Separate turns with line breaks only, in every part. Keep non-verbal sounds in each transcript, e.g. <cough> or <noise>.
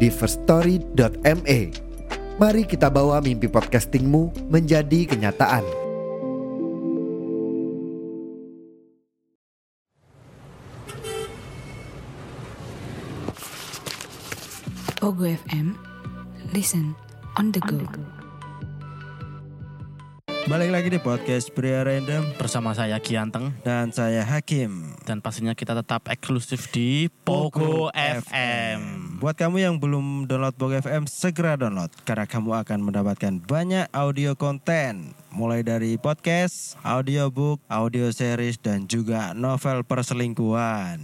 di firststory.me. Mari kita bawa mimpi podcastingmu menjadi kenyataan.
Ogo FM, listen on the go.
Balik lagi di podcast Pria Random
bersama saya Gianteng
dan saya Hakim.
dan pastinya kita tetap eksklusif di Pogo FM.
Buat kamu yang belum download Pogo FM, segera download karena kamu akan mendapatkan banyak audio konten mulai dari podcast, audiobook, audio series dan juga novel perselingkuhan.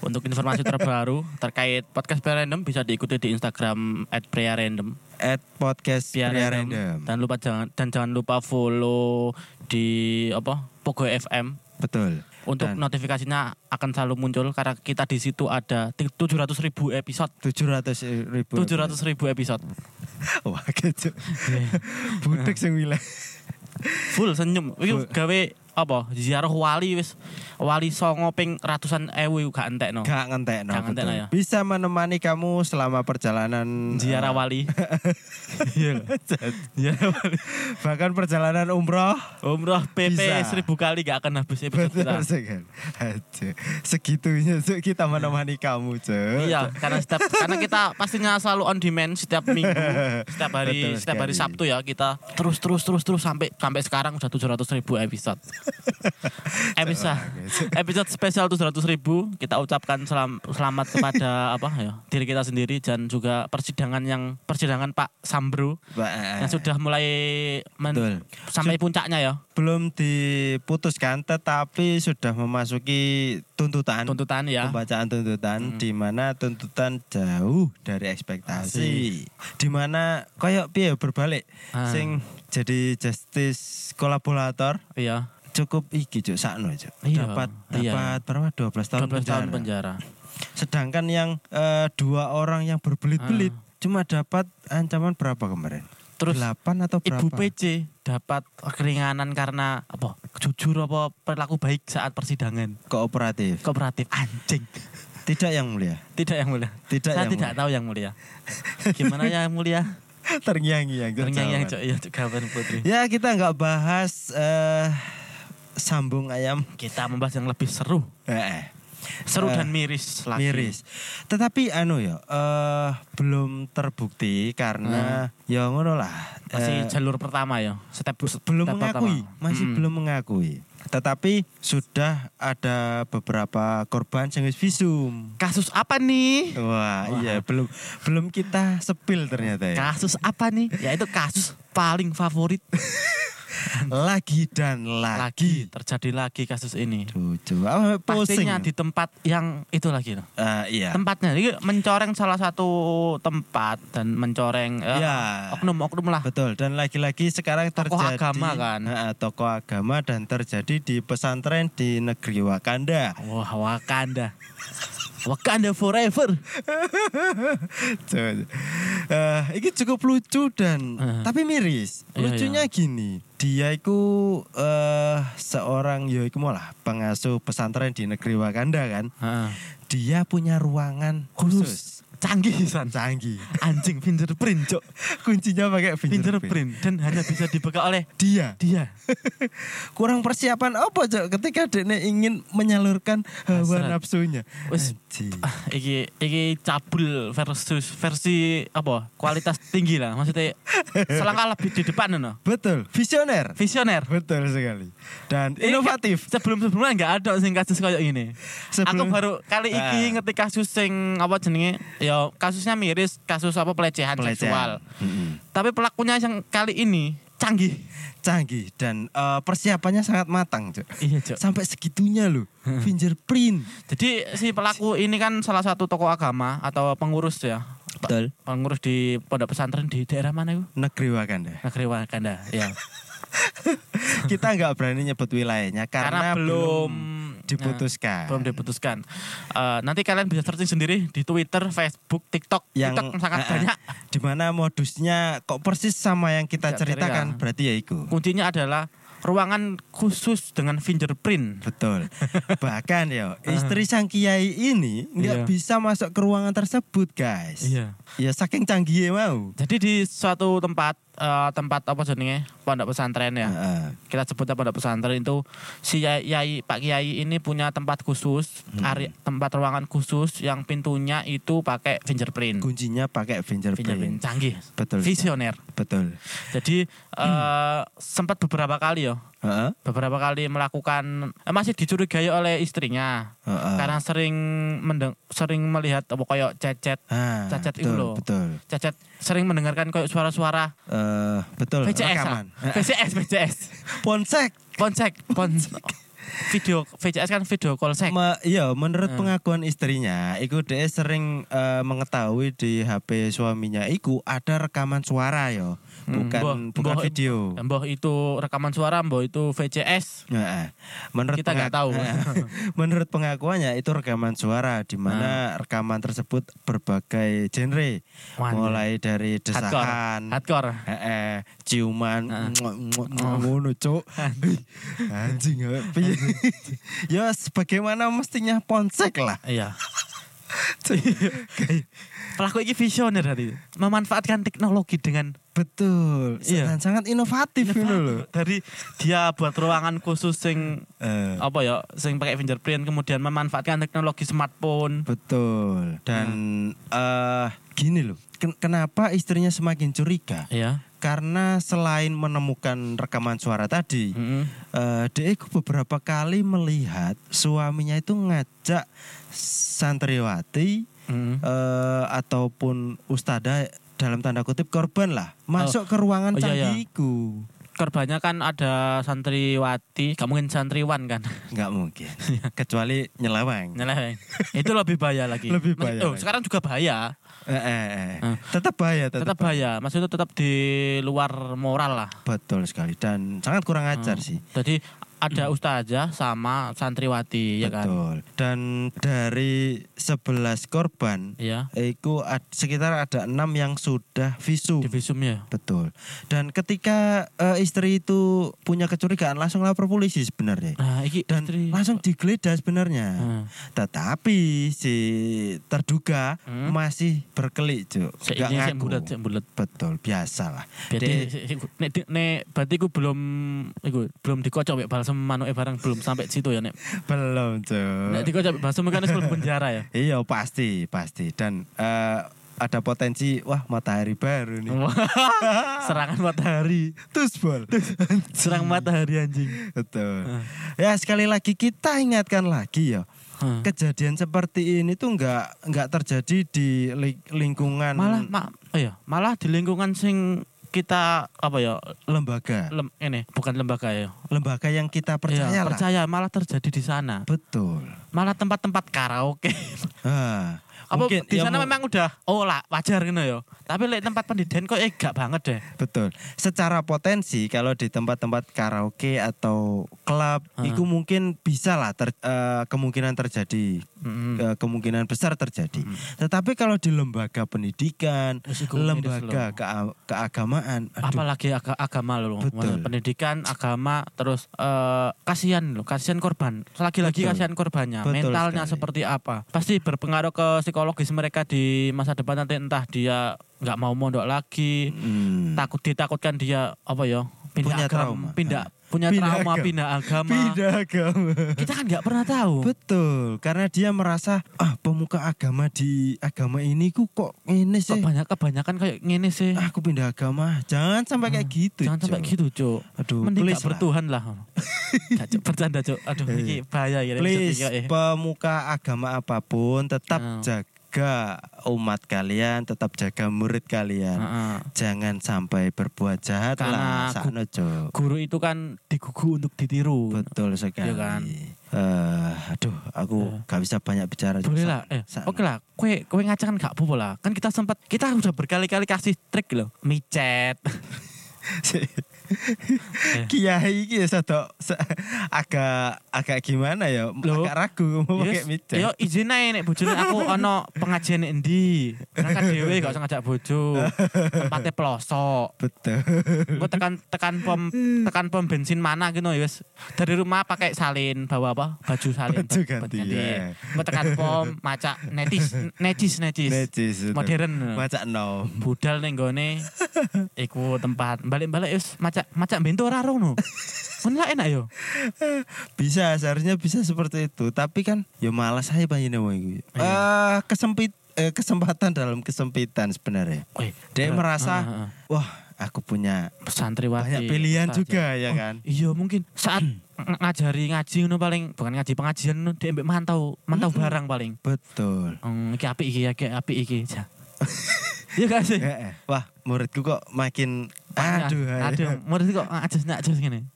Untuk
<laughs>
informasi terbaru terkait podcast Pria Random bisa diikuti di Instagram @priarandom.
At podcast Pria, Random.
Dan lupa jangan dan jangan lupa follow di apa Pogo FM.
Betul.
Untuk
Dan-
notifikasinya akan selalu muncul karena kita di situ ada ti- 700 ribu episode.
700 ribu.
700 ribu episode.
<laughs> Wah gitu.
Iya.
Budek sing wilayah.
Full senyum. Iki gawe apa? Ziarah wali wis. Wali songo ping ratusan ewu gak entekno.
Gak ngentek
Oh. Gak ngentekno ya.
Bisa menemani kamu selama perjalanan eh,
Ziarah
<laughs>
wali. Iya. loh. Ziarah wali.
bahkan perjalanan
<laughs>
umroh
Umroh PP
Bisa.
seribu kali gak akan habis episode
betul
kita.
sekali Aduh, segitunya Cuk, kita menemani kamu Cuk.
Iya, karena setiap karena kita pastinya selalu on demand setiap minggu,
<laughs>
setiap hari
Betul
setiap hari
sekali.
Sabtu ya kita terus terus terus terus sampai sampai sekarang udah 700 ribu
<laughs>
episode. episode <laughs> episode spesial 700 ribu kita ucapkan selam- selamat
<laughs>
kepada apa ya diri kita sendiri dan juga persidangan yang persidangan Pak Sambru
Ba-
yang sudah mulai men-
Eh. Betul.
sampai puncaknya ya
belum diputuskan tetapi sudah memasuki tuntutan
tuntutan ya. Hmm.
pembacaan tuntutan di mana tuntutan jauh dari ekspektasi di mana koyok piye berbalik
Ah.
sing jadi justice kolaborator
Iya.
cukup iki Cuk, sakno Cuk.
Iya,
dapat
iya.
dapat berapa 12 tahun
12 tahun penjara.
Sedangkan yang eh, dua orang yang berbelit-belit cuma dapat ancaman berapa kemarin?
Ah. Terus
8 atau berapa?
Ibu PC dapat keringanan karena apa? Jujur apa perilaku baik saat persidangan?
kooperatif.
Kooperatif anjing.
Tidak yang mulia.
Tidak yang mulia.
Tidak
Saya
yang
tidak
mulia.
tahu yang mulia.
<laughs>
Gimana yang mulia?
Terngiang-ngiang. Cok,
<laughs> Terngiang-ngiang
jawaban.
cok ya Cok Gawan Putri.
Ya kita nggak bahas eh, sambung ayam.
Kita membahas yang lebih seru.
Eh, eh,
Seru
Eh,
dan miris lagi.
Miris. Tetapi anu ya, eh, belum terbukti karena ya ngono lah.
Ah. Masih
Eh,
jalur pertama ya. Step, step
belum
pertama. Hmm.
mengakui, masih
Mm-mm.
belum mengakui. Tetapi sudah ada beberapa korban yang wis visum.
Kasus apa nih?
Wah,
Wah.
iya belum belum kita sepil ternyata ya.
Kasus apa nih? Ya itu kasus paling favorit
Lagi dan
Kan. lagi
lagi.
terjadi lagi kasus ini.
Duh, duh, ah, pusing.
Pastinya di tempat yang itu lagi loh.
Ah, iya.
Tempatnya ini mencoreng salah satu tempat dan mencoreng eh,
Ya.
oknum-oknum lah.
Betul dan lagi-lagi sekarang
Tokoh
terjadi
agama kan?
Ah, tokoh agama dan terjadi di pesantren di negeri Wakanda.
Wah, Wakanda. Wakanda forever.
Betul. Eh, ini cukup lucu dan
Eh.
tapi miris.
Iya,
Lucunya gini, dia itu eh, seorang ya iku mau lah pengasuh pesantren di negeri Wakanda kan. Dia punya ruangan khusus
Canggih san.
canggih.
Anjing fingerprint, Cok.
Kuncinya pakai fingerprint.
Fingerprint dan hanya bisa dibuka oleh
Dia
dia.
<laughs> kurang persiapan apa Cok ketika Dene ingin menyalurkan hawa
Hasrat.
nafsunya.
Wis.
Anjing.
Ah, iki iki cabul versus versi apa? Kualitas tinggi lah. Maksudnya selangkah lebih di depan no.
Betul, visioner.
Visioner.
Betul sekali. Dan
Ini
inovatif.
kan Sebelum-sebelumnya nggak ada sing kasus kayak ini. Aku
Sebelum-
baru kali iki
Ah.
ngerti kasus sing apa jenenge? Ya kasusnya miris, kasus apa pelecehan, seksual.
Pelecehan. Hmm. Mm-mm.
Tapi pelakunya yang kali ini canggih.
canggih dan eh, persiapannya sangat matang, Cuk.
Iya, Cok.
Sampai segitunya
<laughs>
loh, fingerprint.
Jadi si pelaku ini kan salah satu tokoh agama atau pengurus ya.
Betul.
pengurus di pondok pesantren di daerah mana itu?
Negeri
<laughs>
Wakanda.
Negeri Wakanda. Ya.
<laughs> Kita nggak berani nyebut wilayahnya karena,
Karena belum Nah,
diputuskan.
belum diputuskan. Eh, nanti kalian bisa searching sendiri di Twitter, Facebook, TikTok.
yang
TikTok sangat
<laughs> eh, eh,
banyak.
di mana modusnya kok persis sama yang kita
Tidak
ceritakan
terlihat.
berarti ya itu
Kuncinya adalah ruangan khusus dengan fingerprint. <laughs>
betul bahkan ya istri sang kiai ini nggak
Iya.
bisa masuk ke ruangan tersebut guys
Iya.
ya saking canggihnya mau
Jadi di suatu tempat eh, tempat apa jenenge pondok pesantren ya.
Heeh.
kita sebutnya pondok pesantren itu si Yai, Yai- Pak Kiai ini punya tempat khusus, area- tempat ruangan khusus yang pintunya itu pakai fingerprint.
kuncinya pakai fingerprint,
Fingerprint canggih.
Betul.
Visioner.
betul
Jadi eh, sempat beberapa kali ya,
Heeh.
beberapa kali melakukan eh, masih dicurigai oleh istrinya
Heeh.
karena sering mendeng sering melihat apa kayak cecet
Ah,
Cacat itu
betul,
loh.
betul
cecet sering mendengarkan kayak suara-suara
Eh, betul
VCS
rekaman Eh.
ah. VCS VCS
<laughs> ponsek
ponsek pons video VCS kan video call sek
Me- iya, menurut
Eh.
pengakuan istrinya, iku dia sering eh, mengetahui di HP suaminya iku ada rekaman suara yo,
Hmm,
bukan
Mbah,
bukan
mbah-
video.
Mbah itu rekaman suara, mbah itu VCS.
Nah, eh, menurut
Kita nggak tahu.
<laughs> menurut pengakuannya itu rekaman suara di mana
Nah.
rekaman tersebut berbagai genre,
Wah,
mulai dari
hardcore,
desakan,
hardcore.
eh, eh, ciuman,
Heeh.
muak, muak, muak, ngono cuk. Anjing. eh, piye? <laughs> Ya sebagaimana mestinya ponsek lah. <laughs>
Iya. Pelaku ini visioner tadi, memanfaatkan teknologi dengan
Betul.
Iya.
Dan sangat inovatif ini loh.
dari dia buat ruangan khusus sing
Eh,
apa ya, sing pakai fingerprint, kemudian memanfaatkan teknologi smartphone.
betul. Dan eh gini loh. Ken- Kenapa istrinya semakin curiga?
Iya.
Karena selain menemukan rekaman suara tadi,
Mm-mm.
eh dia itu beberapa kali melihat suaminya itu ngajak santriwati
Mm-mm.
eh, ataupun ustada dalam tanda kutip korban lah masuk ke ruangan
Oh, iya, iya.
canggih iku.
Korbannya kan ada santriwati, gak mungkin santriwan
<laughs>
kan?
nggak
<laughs>
mungkin
Iya.
kecuali nyeleweng
Nyeleweng. Itu lebih bahaya lagi.
Lebih bahaya lagi.
Oh, sekarang juga bahaya.
Eh, eh, eh.
Eh.
tetap bahaya
tetap
tetap,
bahaya. Maksudnya tetap di luar moral lah.
betul sekali dan sangat kurang
Ah.
ajar sih
Jadi ada ustazah sama santriwati ya
Hmm.
kan.
betul dan dari 11 korban
Iya.
itu ad- sekitar ada enam yang sudah visum
Di visum ya.
betul dan ketika eh, istri itu punya kecurigaan langsung lapor polisi sebenarnya
Nah, iki
dan
istri.
langsung digeledah sebenarnya
Hmm.
tetapi si terduga
Hmm.
masih berkelit cuk
Sik
Nggak
ini sik
ngaku.
bulet, sik bulet.
betul biasalah
Jadi
Dek-
sik- sik- nek di- nek berarti ku belum iku belum dikocok mek balsem manuke barang belum sampai situ ya nek.
belum cuk
Nek dikocok mek balsem kan wis belum penjara
<laughs>
ya.
Iya pasti pasti dan eh, ada potensi wah matahari baru nih.
Wah, Serangan matahari,
Tus
<laughs>
bol.
serang
Hmm.
matahari anjing.
Betul. Ya sekali lagi kita ingatkan lagi ya.
Hmm.
Kejadian seperti ini tuh nggak nggak terjadi di li- lingkungan
Malah ma, oh ya, malah di lingkungan sing kita apa ya
lembaga
lem, ini bukan lembaga ya
lembaga yang kita percaya
Iya,
lah.
percaya malah terjadi di sana.
Betul.
Malah tempat-tempat karaoke. <laughs>
Ah,
Apa
mungkin
di
ya mu-
sana memang udah oh lah wajar gitu ya. Tapi lek tempat pendidikan kok eh gak banget deh.
Betul. Secara potensi kalau di tempat-tempat karaoke atau klub,
Heeh.
itu mungkin bisa lah ter- eh, kemungkinan terjadi,
Mm-mm.
Eh, kemungkinan besar terjadi. Tetapi kalau di lembaga pendidikan,
Hmm. Wis, iku miris
lembaga kea- keagamaan, aduh,
Apalagi aga- agama loh.
Betul.
Pendidikan, agama, terus eh, kasihan loh, kasihan korban. Lagi-lagi
Betul.
kasihan korbannya,
Betul
mentalnya
sekali.
seperti apa. Pasti berpengaruh ke psikologis mereka di masa depan nanti entah dia nggak mau mondok lagi,
hmm,
takut ditakutkan dia apa ya?
Punya
Pindah agama,
trauma. Ah.
pindah punya
Pindah
trauma,
agama.
pindah agama.
pindah
<laughs>
agama.
Kita kan nggak pernah tahu.
Betul, karena dia merasa ah pemuka agama di agama ini ku kok ini sih. Ah,
kebanyakan kebanyakan kayak gini sih.
Aku pindah agama. Jangan sampai kayak gitu.
Hmm. Jangan sampai
Jo.
gitu, Cuk.
Aduh,
Mending
please
gak
lah.
bertuhan
<laughs>
lah. Gak, Cuk, bercanda, Cuk. Aduh,
Eh,
ini bahaya ya.
Please, pemuka agama apapun tetap
Hmm.
jaga umat kalian, tetap jaga murid kalian. Jangan sampai berbuat jahat
Ah. Karena
lah, sakno, Jo.
Guru itu kan digugu untuk ditiru.
Betul sekali.
Iya kan? Eh.
eh, aduh, aku gak bisa banyak bicara.
Boleh lah. Eh,
Sana.
Oke lah. Kue kue ngaca kan gak apa-apa lah. Kan kita sempat kita udah berkali-kali kasih trik loh. Micet. <laughs> Eh.
Kiai iki ya sadok se- agak agak gimana ya?
Loh.
Agak ragu mau <laughs> pakai
Yes. Iya.
micet.
Yo izin ae nek bojone aku ono pengajian nek endi. Berangkat dhewe gak usah ngajak bojo. Tempatnya pelosok.
Betul.
Gue tekan tekan pom tekan pom bensin mana gitu ya wes. Dari rumah pakai salin bawa apa? Baju salin.
Baju ganti, ya.
Gue tekan pom maca netis netis netis.
Necis. betul.
Modern.
Macak nom.
budal ning gone iku tempat balik-balik wis macak macak bento ora rono. Ngono lah enak ya? yo.
Bisa seharusnya bisa seperti itu, tapi kan ya malas saya panjene wong iku.
Iya.
Eh kesempit eh, kesempatan dalam kesempitan sebenarnya.
Eh,
Dia
berat.
merasa,
Ah, ah,
wah aku punya
ah. santriwati.
banyak pilihan
Ustaz,
juga ya
Oh,
kan.
Iya mungkin saat ng- ngajari ngaji ngono paling bukan ngaji pengajian ngono dia mbek mantau, mantau barang paling.
Betul.
Hmm, iki apik iki, iki apik iki.
<laughs>
Ja. Iya gak sih?
Eh, eh. Wah, muridku kok makin
Tanya,
aduh. hai.
ya? aduh, murid kok ajas nak ajas ngene.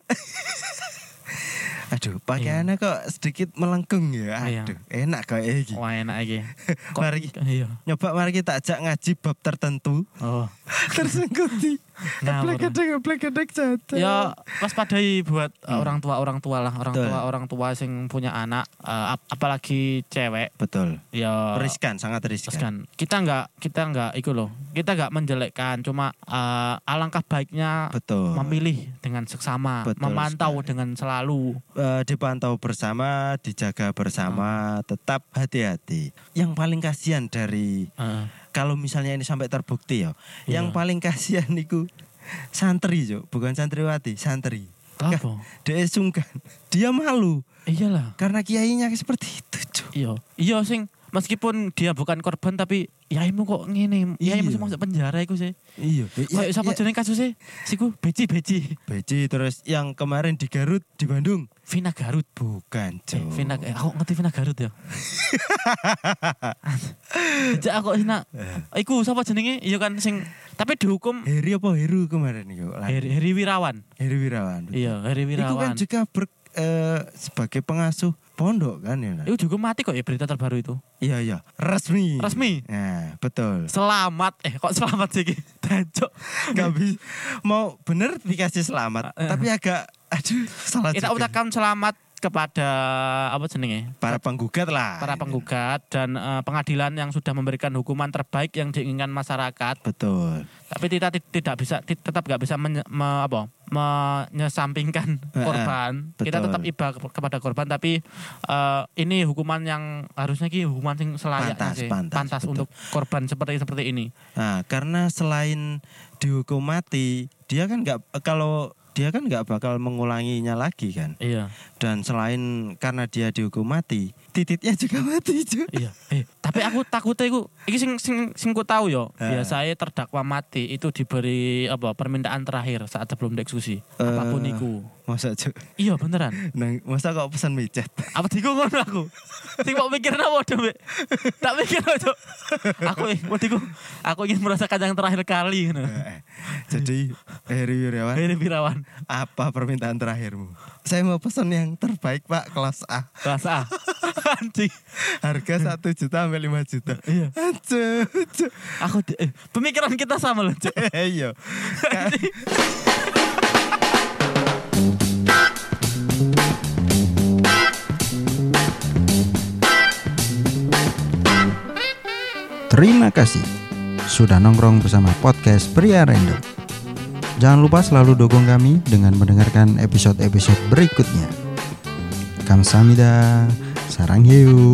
Aduh, pakaiannya kok sedikit melengkung ya.
Iya. Oh.
Aduh, enak kayak iki.
Wah enak iki.
Mari ki-
Iya.
nyoba mari kita ajak ngaji bab tertentu.
<laughs> Oh.
Tersengkuti.
Ngawur.
Blek-gedek blek-gedek jajan.
ya waspadai buat uh, orang tua orang tua lah orang
Hmm. Betul.
tua orang tua sing punya anak uh, ap- apalagi cewek
Betul.
ya
Riskan, sangat riskan.
riskan. kita nggak kita nggak itu loh kita nggak menjelekkan cuma uh, alangkah baiknya
Betul.
memilih dengan seksama
Betul
memantau dengan selalu
Eh, dipantau bersama, dijaga
Hmm.
bersama, tetap hati-hati. Yang paling kasihan dari
Heeh.
kalau misalnya ini sampai terbukti ya,
Iya.
yang paling kasihan niku santri jo, bukan santriwati, santri.
Apa?
Ka- Dia sungkan, dia malu
iyalah
karena kiainya seperti itu jo.
iya iya sing meskipun dia bukan korban tapi ya imu kok ngene ya imu
Iya.
sing masuk penjara iku sih
Iya.
Kayak siapa jeneng kasusnya? Siku beci beci
Beci terus yang kemarin di Garut di Bandung
Vina Garut
bukan
Eh,
jo.
Vina, eh, aku ngerti Vina Garut
<laughs>
ya. Jadi aku Vina,
Eh.
iku siapa jenenge? Iya kan sing tapi dihukum
Heri apa Heru kemarin yo?
Heri, Heri Wirawan.
Heri Wirawan. betul.
Iya, Heri
Itu kan
Wirawan. Itu
juga ber, eh, sebagai pengasuh pondok kan ya. Nak?
juga mati kok ya berita terbaru itu.
Iya iya, resmi.
Resmi?
Nah, betul.
Selamat eh kok selamat sih Ki? <laughs> Dancuk.
Gak bisa mau bener dikasih selamat,
Eh, Ya, eh.
tapi agak aduh salah
Kita
juga.
ucapkan selamat kepada apa jenenge?
Para penggugat lah.
Para penggugat dan eh, pengadilan yang sudah memberikan hukuman terbaik yang diinginkan masyarakat.
Betul.
tapi kita ti- tidak bisa ti- tetap nggak bisa menye, me- apa
<laughs>
menyesampingkan
Eh, eh,
korban kita
betul.
tetap iba ke- kepada korban tapi eh, ini hukuman yang harusnya ki hukuman yang selayaknya
Pantas,
sih.
pantas, betul.
untuk korban seperti seperti ini
Nah, karena selain dihukum mati, dia kan nggak kalau dia kan nggak bakal mengulanginya lagi kan.
iya
Dan selain karena dia dihukum mati, tititnya juga <laughs> mati juga.
iya eh, tapi aku takutnya aku ini sing sing sing ku tahu yo
Eh.
biasanya terdakwa mati itu diberi apa permintaan terakhir saat sebelum dieksekusi apapun
Eh.
itu
Masa Cuk?
iya beneran
Nang, masa kok pesan micet?
apa diku ngono aku sing kok mikirna waduh Mbak. tak mikir waduh aku wadiku aku ingin merasakan yang terakhir kali ngono
Eh, Jadi Heri Wirawan
Heri Wirawan
apa permintaan terakhirmu? Saya mau pesan yang terbaik Pak kelas A.
rasa <laughs> anjing
Harga 1 juta sampai 5 juta. Iya.
aku di- eh, pemikiran kita sama loh Cuk.
Iya. Ka-
Terima kasih sudah nongkrong bersama podcast Pria Random. ya, Jangan lupa selalu dukung kami dengan mendengarkan episode-episode berikutnya. Kamsahamnida, sarang hiu.